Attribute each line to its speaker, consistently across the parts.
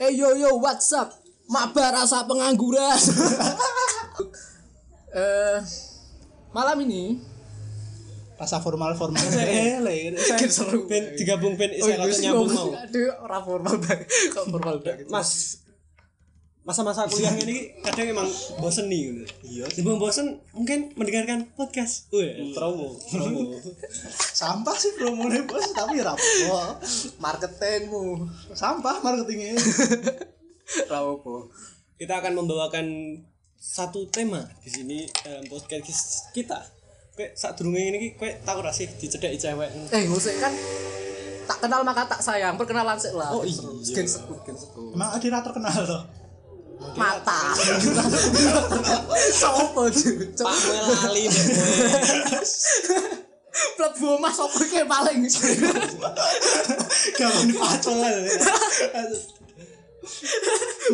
Speaker 1: Hey yo yo what's up? Mabar rasa pengangguran. Eh malam ini
Speaker 2: rasa formal formal
Speaker 1: Eh,
Speaker 2: saya
Speaker 1: seru.
Speaker 2: ben, digabung ben
Speaker 1: Oh,
Speaker 2: saya kata
Speaker 1: iya,
Speaker 2: nyambung mau
Speaker 1: ngomong. Aduh, ora formal banget. Kok formal banget.
Speaker 2: Gitu. mas masa-masa kuliah ini kadang emang bosen nih gitu. iya sebelum bosen mungkin mendengarkan podcast Hmm. wih promo promo
Speaker 3: sampah sih promonya bos tapi ya rapopo
Speaker 1: marketingmu.
Speaker 3: sampah marketingnya
Speaker 1: Ra opo.
Speaker 2: kita akan membawakan satu tema di sini dalam podcast kita kayak saat dulu ini kayak tahu gak sih dicedek cewek
Speaker 1: Eh, ngusik kan tak kenal maka tak sayang. Perkenalan sik lah.
Speaker 2: Oh, iya.
Speaker 1: Gen sekut, gen sekut.
Speaker 3: emang Adira terkenal loh
Speaker 1: Mata. Sopo cuy?
Speaker 2: pak gue lali Pak, gue.
Speaker 1: Mlebu omah sopo iki paling.
Speaker 2: gampang pacolan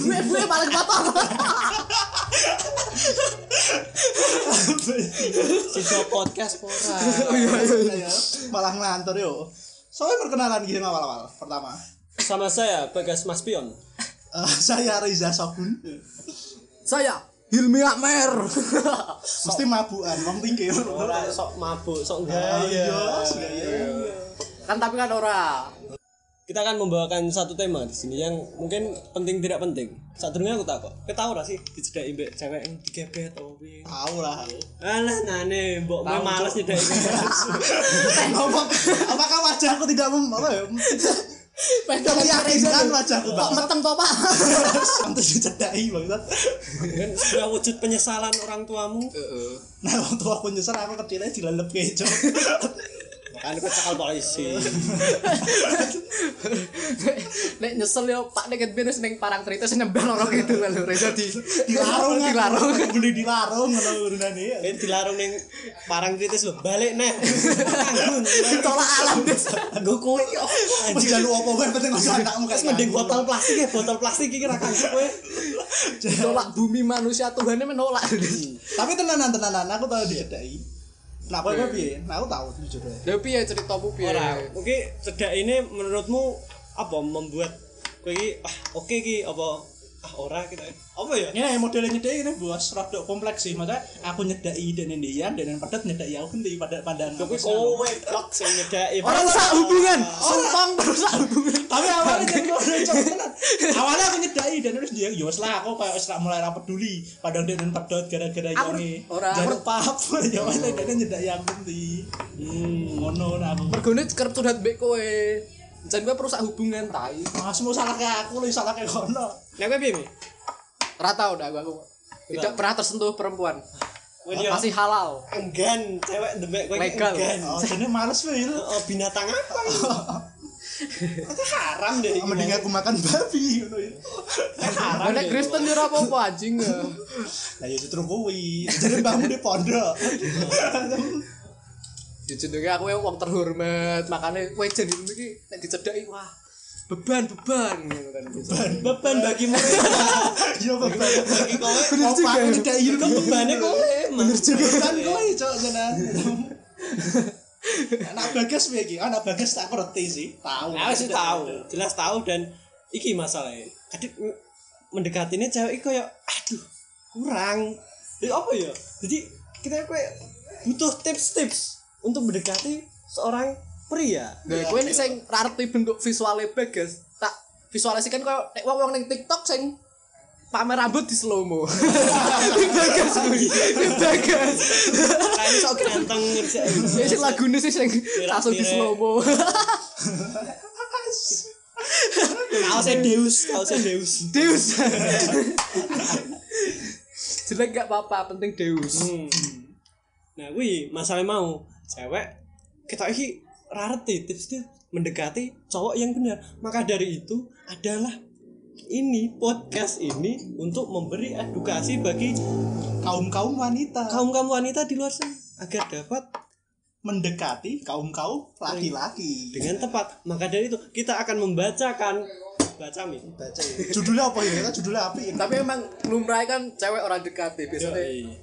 Speaker 1: Gue gue paling patah.
Speaker 2: sisa podcast pora
Speaker 3: iya. malah ngelantur yo soalnya perkenalan gini awal awal pertama
Speaker 2: sama saya bagas mas pion
Speaker 3: Eh, saya Reza Sabun
Speaker 1: Saya Hilmi Akmer.
Speaker 3: mesti mabukan wong tinggi
Speaker 2: orang sok mabuk sok
Speaker 3: Ah,
Speaker 2: enggak
Speaker 3: iya sih, iya.
Speaker 1: kan tapi kan ora.
Speaker 2: kita akan membawakan satu tema di sini yang mungkin penting tidak penting. Saat dulu aku tak kok. Kita tahu lah sih dicedai mbek cewek yang digebet atau piye.
Speaker 3: tahu lah
Speaker 2: Alah nane, mbok gue
Speaker 1: Tahu,
Speaker 2: males
Speaker 1: Cuk.
Speaker 2: tidak
Speaker 3: Apa- apakah wajahku tidak mem apa ya
Speaker 1: Pengen
Speaker 3: meyakinkan wajahku
Speaker 1: Kok
Speaker 3: banget
Speaker 1: meteng Iya, kan to, Pak?
Speaker 3: sampai dicedai banget
Speaker 2: Kan sudah wujud penyesalan orang tuamu.
Speaker 1: Heeh.
Speaker 3: nah waktu aku nyesel aku kecilnya dilalep kecoh
Speaker 2: Makanya kau cekal polisi.
Speaker 1: Nek nyesel yo Pak Nek binus ning parang tritis nyembel orang gitu lho Reza di
Speaker 3: di larung
Speaker 1: di larung.
Speaker 3: beli di larung kalau urunan ini
Speaker 2: Kan dilarung ning parang kritis lho, balik neh. Tanggung.
Speaker 1: Tolak alam deh.
Speaker 2: Gue kowe yo.
Speaker 3: Wes
Speaker 2: Anjing.
Speaker 3: jalu opo wae penting masuk anakmu
Speaker 2: Wes mending botol plastik ya, botol plastik iki ra kanggo kowe.
Speaker 1: Tolak bumi manusia Tuhannya menolak.
Speaker 3: Tapi tenanan tenanan aku tau dicedai. Nah, kowe kowe piye? Nah, aku tau jujur ae.
Speaker 1: Lha piye ceritamu piye?
Speaker 2: Ora, oke cedak ini menurutmu apa membuat kowe iki ah oke iki apa ah ora kita apa ya?
Speaker 3: Ini modelnya nyedai ini bos rodok kompleks sih. Maksudnya aku nyedai dan Indian dan yang padat nyedai aku nanti pada pandangan.
Speaker 2: Kowe kowe tok sing nyedaki.
Speaker 1: Orang sak hubungan. Sumpang sak hubungan.
Speaker 3: Tapi awalnya jadi orang cowok tenan. Awalnya aku nyedai dan terus dia yo wes lah aku kayak wes lah mulai ra peduli padahal dia dan pedot gara-gara
Speaker 1: Aku-
Speaker 3: ini.
Speaker 1: ora, aku-
Speaker 3: Jangan paham ya wes dia nyedai aku nanti. Hmm, ngono nah aku.
Speaker 1: Mergone kerep curhat mbek kowe. Jan kowe perusak hubungan tai.
Speaker 3: Masmu salah kayak aku lu salah kayak kono.
Speaker 2: Nek kowe piye? Mi?
Speaker 1: Ora tau dah aku aku. Tidak pernah tersentuh perempuan.
Speaker 2: Kowe yo
Speaker 1: Masih halal.
Speaker 2: enggan cewek demek kowe iki
Speaker 1: Legal.
Speaker 2: enggan.
Speaker 3: Oh, jadi males Wil.
Speaker 2: Oh, binatang apa ini? Itu haram deh. ini.
Speaker 3: mending aku makan babi ngono ya.
Speaker 2: Eh, haram.
Speaker 1: Lah Nek
Speaker 2: deh.
Speaker 1: Kristen yo ora apa-apa anjing.
Speaker 3: Lah
Speaker 2: iya,
Speaker 3: ya justru kuwi. Jadi mbahmu di pondok.
Speaker 1: Dijenenge aku yang wong terhormat, makane kowe jan ngono iki nek dicedhaki wah beban beban ngono kan.
Speaker 2: beban bagi mereka
Speaker 3: Ya beban.
Speaker 2: bagi kowe.
Speaker 1: Bener juga.
Speaker 3: Opa aku tidak ingin
Speaker 2: Itu bebannya kowe. Bener
Speaker 3: Beban kowe cok tenan. Anak bagas piye iki? Anak bagas tak ngerti sih. Tahu.
Speaker 2: Aku sih Ah, tahu, jelas tahu dan iki masalahnya. Kadang m- mendekatinya cewek iki kayak aduh kurang. Jadi apa ya? Jadi kita kayak butuh tips-tips untuk mendekati seorang pria.
Speaker 1: Nah, kowe nek sing ra arti bentuk visuale bagas, tak visualisasikan koyo nek wong-wong ning TikTok sing pamer rambut di slow mo. Di bagas kuwi. Di bagas.
Speaker 2: Kayak sok ganteng ngerjain.
Speaker 1: Ya sing lagune sih sing langsung di slow mo.
Speaker 2: Kaosnya Deus, kaosnya Deus.
Speaker 1: Deus. Jelek gak apa-apa, penting Deus.
Speaker 2: Hmm. Nah, wih, masalah mau cewek kita iki rarti tipsnya mendekati cowok yang benar. Maka dari itu adalah ini podcast ini untuk memberi edukasi bagi
Speaker 3: Kaum-kaum wanita
Speaker 2: kaum-kaum wanita di luar sana agar dapat
Speaker 3: mendekati kaum-kaum laki-laki.
Speaker 2: dengan tepat. Maka dari itu kita akan membacakan baca Mi.
Speaker 3: Baca ya. Judulnya apa ya? Kan judulnya api.
Speaker 1: Tapi emang lumrahe kan cewek orang dekat ya biasanya.
Speaker 2: Yoi. Hmm.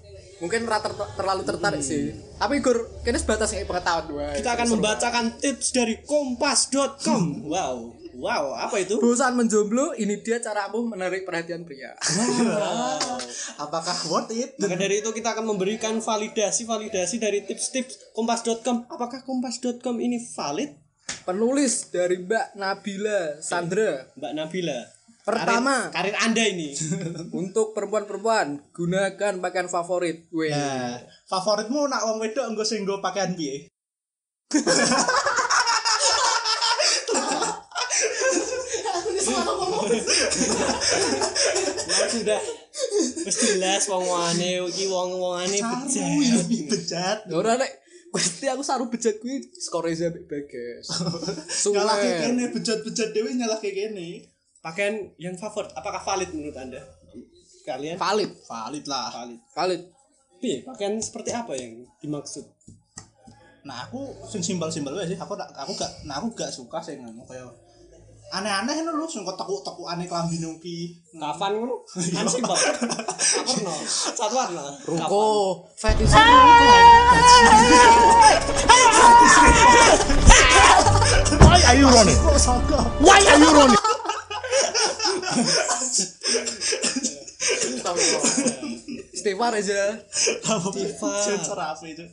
Speaker 1: Mungkin ora ter- terlalu tertarik sih. Tapi gur kene sebatas kayak pengetahuan wae.
Speaker 2: Kita akan membacakan tips dari kompas.com. Wow. Wow, apa itu?
Speaker 1: Bosan menjomblo, ini dia caramu menarik perhatian pria.
Speaker 2: Wow.
Speaker 3: Apakah worth it?
Speaker 2: Maka dari itu kita akan memberikan validasi-validasi dari tips-tips kompas.com. Apakah kompas.com ini valid?
Speaker 1: Penulis dari Mbak Nabila Sandra.
Speaker 2: Mbak Nabila.
Speaker 1: Pertama,
Speaker 2: Karir, karir Anda ini.
Speaker 1: untuk perempuan-perempuan gunakan pakaian favorit. Weh.
Speaker 2: Ya.
Speaker 3: Nah, favoritmu nak wong wedok engko sing nggo pakaian piye?
Speaker 2: Wah, sudah wis jelas wong-wongane iki wong-wongane
Speaker 3: Saru
Speaker 2: bejat.
Speaker 3: ya, bejat.
Speaker 1: Ora nek pasti aku saru bejat kuwi skor Reza mbek Bagas. Suwe.
Speaker 3: Nyalahke kene bejat-bejat dhewe nyalahke kene.
Speaker 2: Pakaian yang favorit apakah valid menurut Anda? Kalian
Speaker 1: Valid,
Speaker 3: Valid lah.
Speaker 2: valid.
Speaker 1: valid.
Speaker 2: Piye, pakaian seperti apa yang dimaksud?
Speaker 3: Nah, aku sing simbol-simbol wae sih. Aku nak- aku gak nah aku gak suka sing ngono kaya aneh-aneh ngono lho sing tekuk-tekukane klambi nuki.
Speaker 2: Kafan ngono? Kan sih, Pak. Apa no? Satu warna. Kafan.
Speaker 1: Ruko, fetish ruko.
Speaker 4: Why are you running? Why are you running?
Speaker 1: Istighfar Reza.
Speaker 2: Tifa.
Speaker 3: Serapi itu.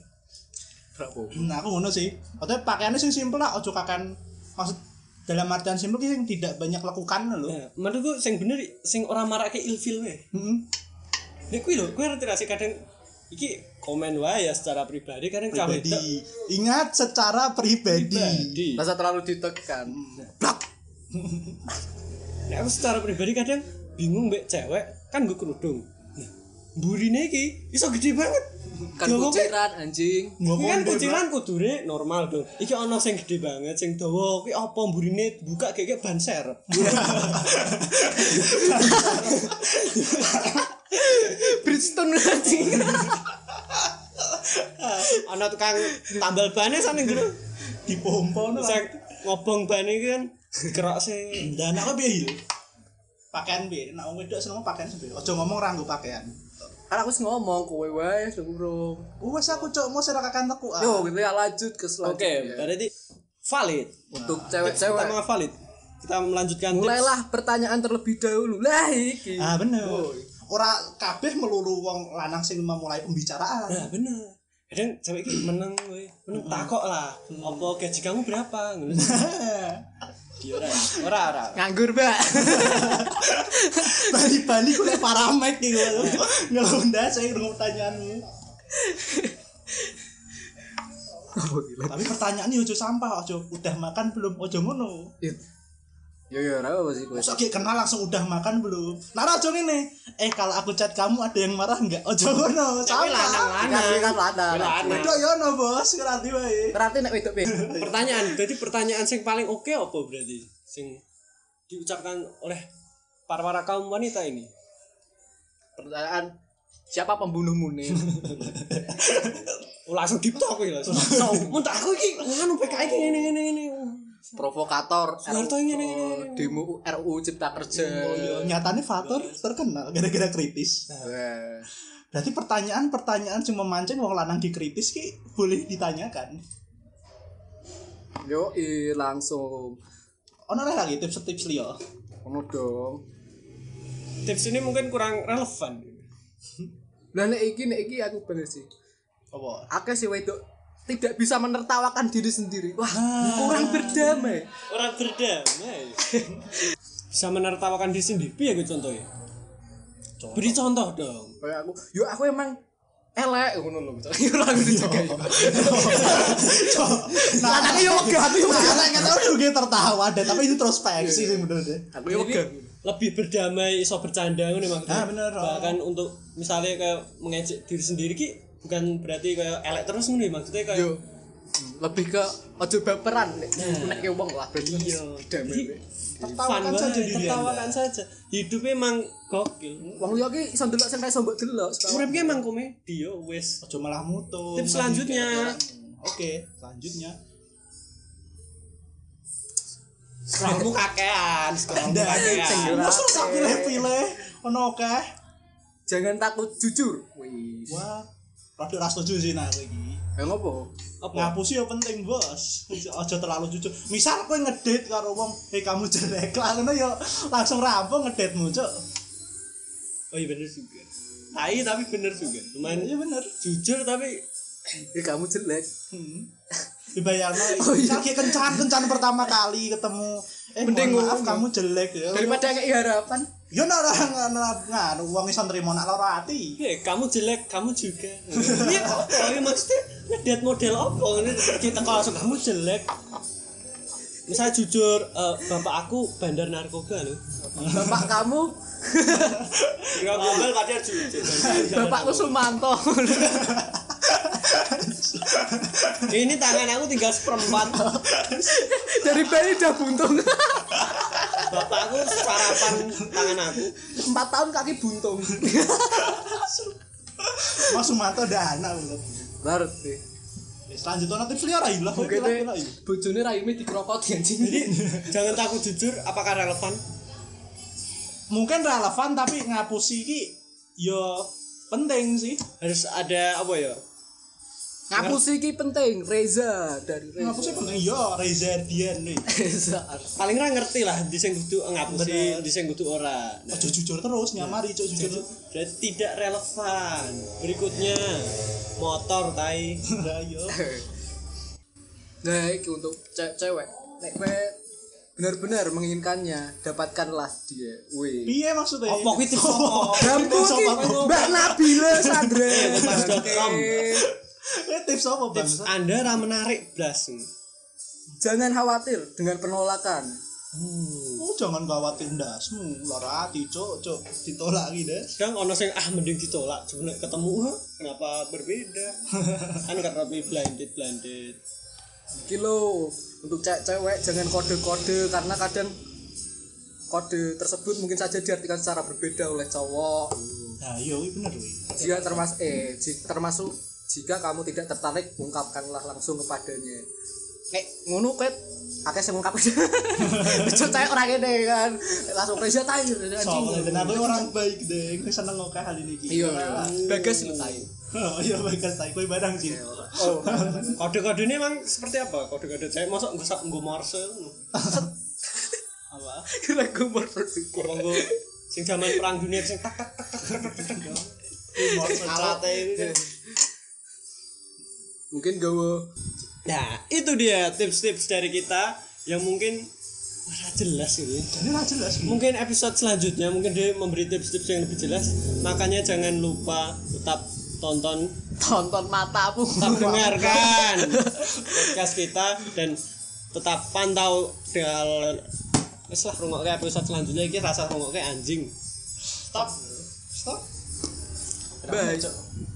Speaker 3: Nah, aku ngono sih. Maksudnya pakaiannya sing simpel lah, ojo kakan maksud dalam artian simpel ki sing tidak banyak lekukan lho.
Speaker 2: Nah, menurutku sing bener sing ora marake ilfil wae.
Speaker 3: Heeh.
Speaker 2: Nek kuwi lho, kuwi ngerti gak sih kadang iki komen wae ya secara pribadi kadang cah wedok
Speaker 3: Pribadi. Ingat secara pribadi.
Speaker 2: pribadi.
Speaker 1: Masa terlalu ditekan.
Speaker 2: Hmm. Nek aku secara pribadi kadang bingung mbek cewek kan gue kerudung. Nah, burine iki iso gede banget.
Speaker 1: Kan
Speaker 2: Diomongke-
Speaker 1: kuciran anjing.
Speaker 2: Kuwi kan
Speaker 3: Ngomong
Speaker 2: kucilan kudune normal dong. Iki ana sing gede banget, sing dawa. Kuwi apa mburine buka kayak banser.
Speaker 1: Bridgestone anjing.
Speaker 2: Ana tukang tambal ban sana jero.
Speaker 3: dipompo no.
Speaker 2: Sing ngobong ban iki kan dikerok sing
Speaker 3: Dan aku piye yo? Pakaian piye? Nek wong wedok seneng pakaian sing Ojo ngomong ra nggo pakaian.
Speaker 1: Kan aku wis ngomong kowe wae wis kurung.
Speaker 3: Wes aku cok mau serak kakan teku. ah.
Speaker 1: Yo, kita lanjut ke selanjutnya.
Speaker 2: Oke, berarti valid.
Speaker 1: Untuk
Speaker 2: Tips pertama
Speaker 1: cewek-cewek
Speaker 2: valid. Kita melanjutkan tips.
Speaker 1: mulailah pertanyaan terlebih dahulu. Lah iki.
Speaker 3: Ah bener. Ora kabeh melulu wong lanang sing memulai
Speaker 2: Nah,
Speaker 3: pembicaraan.
Speaker 2: bener. Kadang cewek iki meneng kowe, meneng takok lah. Apa gaji kamu berapa? Ngono. Dia ora. Iya, Ora ora.
Speaker 1: Nganggur, Mbak.
Speaker 3: Bali-bali kuwi paramek
Speaker 1: gitu.
Speaker 3: iki lho. Ngelunda saya ngurung pertanyaanmu. Tapi pertanyaannya ojo sampah, ojo udah makan belum, ojo ngono.
Speaker 1: Yo yo, ora apa sih kowe.
Speaker 3: Masa kayak kenal langsung udah makan belum? Nara ojo ngene. Eh kalau aku chat kamu ada yang marah enggak? Ojo ngono. Sampah.
Speaker 1: Kan kowe kan lanang.
Speaker 2: Lanang.
Speaker 3: Wedok yo ya, no bos, ngerti wae.
Speaker 1: Berarti nek wedok piye?
Speaker 2: Pertanyaan, jadi pertanyaan sing paling oke apa berarti? Sing diucapkan oleh para para kaum wanita ini.
Speaker 1: Pertanyaan siapa pembunuhmu nih?
Speaker 2: Oh, langsung diptok iki langsung. Mun tak aku iki nganu PKI iki ngene ngene ngene.
Speaker 1: Provokator
Speaker 2: Soeharto
Speaker 1: RU,
Speaker 2: ngene, ngene, ngene.
Speaker 1: demo RU Cipta Kerja.
Speaker 3: Oh iya, nyatanya Fatur terkenal gara-gara kritis.
Speaker 1: Wah.
Speaker 3: Berarti pertanyaan-pertanyaan cuma memancing wong lanang dikritis ki boleh ditanyakan.
Speaker 1: Yo i langsung
Speaker 3: Ono lah lagi tips-tips liyo.
Speaker 1: ngono dong.
Speaker 2: Tips ini mungkin kurang relevan.
Speaker 1: Lah nek iki nek iki aku bener sih.
Speaker 3: Apa?
Speaker 1: Akeh sih wedok tidak bisa menertawakan diri sendiri. Wah, kurang berdamai.
Speaker 2: Orang berdamai. Bisa menertawakan diri sendiri. Piye gue contohnya? Beri contoh dong.
Speaker 1: Kayak aku, yo aku emang elek ngono lho. Yo ora ngerti juga.
Speaker 3: Nah,
Speaker 1: Anake yo megah, aku yo
Speaker 3: nah,
Speaker 1: megah.
Speaker 3: nah, kata udah gue tertawa deh, tapi introspeksi sih bener deh.
Speaker 1: Aku yo megah.
Speaker 2: lebih berdamai iso bercanda ngono maksudnya.
Speaker 3: Ah, bener, oh.
Speaker 2: Bahkan untuk misalnya kayak mengejek diri sendiri ki bukan berarti kayak elek terus ngono ya, maksudnya kayak
Speaker 1: Yo lebih ke ojo baperan nek nek ke wong lah berarti damai.
Speaker 3: Tertawakan
Speaker 2: fun banget,
Speaker 3: saja diri
Speaker 2: tertawakan
Speaker 3: Anda.
Speaker 2: saja. Hidup emang gokil.
Speaker 1: Wong liya ki iso ndelok sing ra iso mbok delok.
Speaker 2: Urip ki emang komedi yo wis.
Speaker 3: Ojo malah mutu.
Speaker 2: Tips selanjutnya.
Speaker 3: Oke, selanjutnya.
Speaker 2: Kamu kakean, kamu
Speaker 3: Dan
Speaker 2: kakean.
Speaker 3: masa tak pilih-pilih ono akeh.
Speaker 1: Jangan takut jujur. Wis.
Speaker 3: Wah, rada ras setuju sih nah aku iki.
Speaker 1: Ya ngopo?
Speaker 2: Apa?
Speaker 3: ngapusi ya penting bos aja terlalu jujur misal kowe ngedate karo wong eh kamu jelek lalu ya langsung rampung ngedate-mu cuk
Speaker 2: Oh iya bener juga. Tai tapi bener juga. Lumayan
Speaker 3: iya bener
Speaker 2: jujur tapi
Speaker 1: Ya kamu jelek.
Speaker 3: hmm. dibayarno
Speaker 1: Oh, iya.
Speaker 3: misal kayak kencan-kencan pertama kali ketemu eh
Speaker 1: Mending
Speaker 3: mohon maaf
Speaker 1: ngono.
Speaker 3: kamu jelek ya
Speaker 1: Daripada kayak harapan.
Speaker 3: yo ora nganu wong iso nrimo nak lara ati
Speaker 2: ya kamu jelek, kamu juga. Iya apa? Ya maksudnya ngedate model apa? Ini kita kalau langsung kamu jelek. Misalnya jujur, eh, bapak aku bandar narkoba loh.
Speaker 1: Bapak kamu,
Speaker 2: Kira gombel kadang jujur.
Speaker 1: bapakku Sumanto.
Speaker 2: Ini tangan aku tinggal seperempat.
Speaker 1: Dari bayi udah buntung.
Speaker 2: Bapakku sarapan tangan aku.
Speaker 1: 4 tahun kaki buntung.
Speaker 3: Mas Sumanto udah anak lho
Speaker 1: Berarti.
Speaker 3: selanjutnya nanti pilih ora ilang kowe
Speaker 1: Mungkin
Speaker 3: pilih ilang
Speaker 1: bojone raime dikrokot anjing.
Speaker 2: Jadi jangan takut jujur, apakah relevan?
Speaker 3: mungkin relevan tapi ngapusi iki yo penting sih
Speaker 2: Harus ada apa ya?
Speaker 1: Ngapusi iki penting, Reza dari Reza.
Speaker 3: ngapusi penting yo Reza Dian nih
Speaker 1: Reza.
Speaker 2: paling ora ngerti lah di sing kudu
Speaker 3: Bener.
Speaker 2: ngapusi, di sing kudu ora. Nah,
Speaker 3: Ojo jujur terus nyamari cok jujur.
Speaker 2: dan tidak relevan. Berikutnya motor tai.
Speaker 3: Lah iya. yo.
Speaker 1: Nah, iki untuk ce- cewek. Nek kowe benar-benar menginginkannya, dapatkanlah dia. Wih.
Speaker 3: Piye maksudnya?
Speaker 2: Apa kuwi tips apa?
Speaker 1: Bambu iki Mbak Nabila Sandra.
Speaker 2: Lepas.com.
Speaker 3: Eh, tips apa bang?
Speaker 2: Tips Anda ora menarik blas.
Speaker 1: Jangan khawatir dengan penolakan.
Speaker 3: Oh, jangan khawatir ndasmu, lara ati cok cok ditolak iki des.
Speaker 2: Sekarang ono sing ah mending ditolak, cuma nek ketemu "Hah, kenapa berbeda? kan karena lebih blinded blinded.
Speaker 1: Kilo untuk ce- cewek jangan kode-kode karena kadang kode tersebut mungkin saja diartikan secara berbeda oleh cowok.
Speaker 3: Nah, yo iki bener kuwi.
Speaker 1: Jika termas eh ji- termasuk jika kamu tidak tertarik ungkapkanlah langsung kepadanya. Nek ngono ket akeh sing ungkap. Cuk cewek ora kene kan. Langsung Reza tai Reza,
Speaker 3: Soalnya
Speaker 1: anjing.
Speaker 3: benar kowe orang baik deh, kowe seneng kok hal ini iki.
Speaker 1: Iya. Bagas lu tai.
Speaker 3: Oh, iya bagas tai kowe barang sih.
Speaker 1: Oh,
Speaker 2: Kode-kode ini emang seperti apa? Kode-kode saya masuk nggak sak nggak morse,
Speaker 3: Apa?
Speaker 1: kira gue mau bersyukur.
Speaker 2: apa nggak sing zaman perang dunia sing tak tak tak tak tak tak tak.
Speaker 3: Mau salat
Speaker 2: Alatnya itu.
Speaker 1: Mungkin gawe
Speaker 2: Nah, itu dia tips-tips dari kita yang mungkin ora jelas gitu. ya.
Speaker 3: Jadi ra jelas.
Speaker 2: Mungkin episode selanjutnya mungkin dia memberi tips-tips yang lebih jelas. Makanya jangan lupa tetap tonton,
Speaker 1: tonton matamu.
Speaker 2: tetap dengarkan podcast kita dan tetap pantau dengan wis lah rungokke episode selanjutnya iki rasa rungokke anjing.
Speaker 3: Stop. Stop.
Speaker 1: Bye.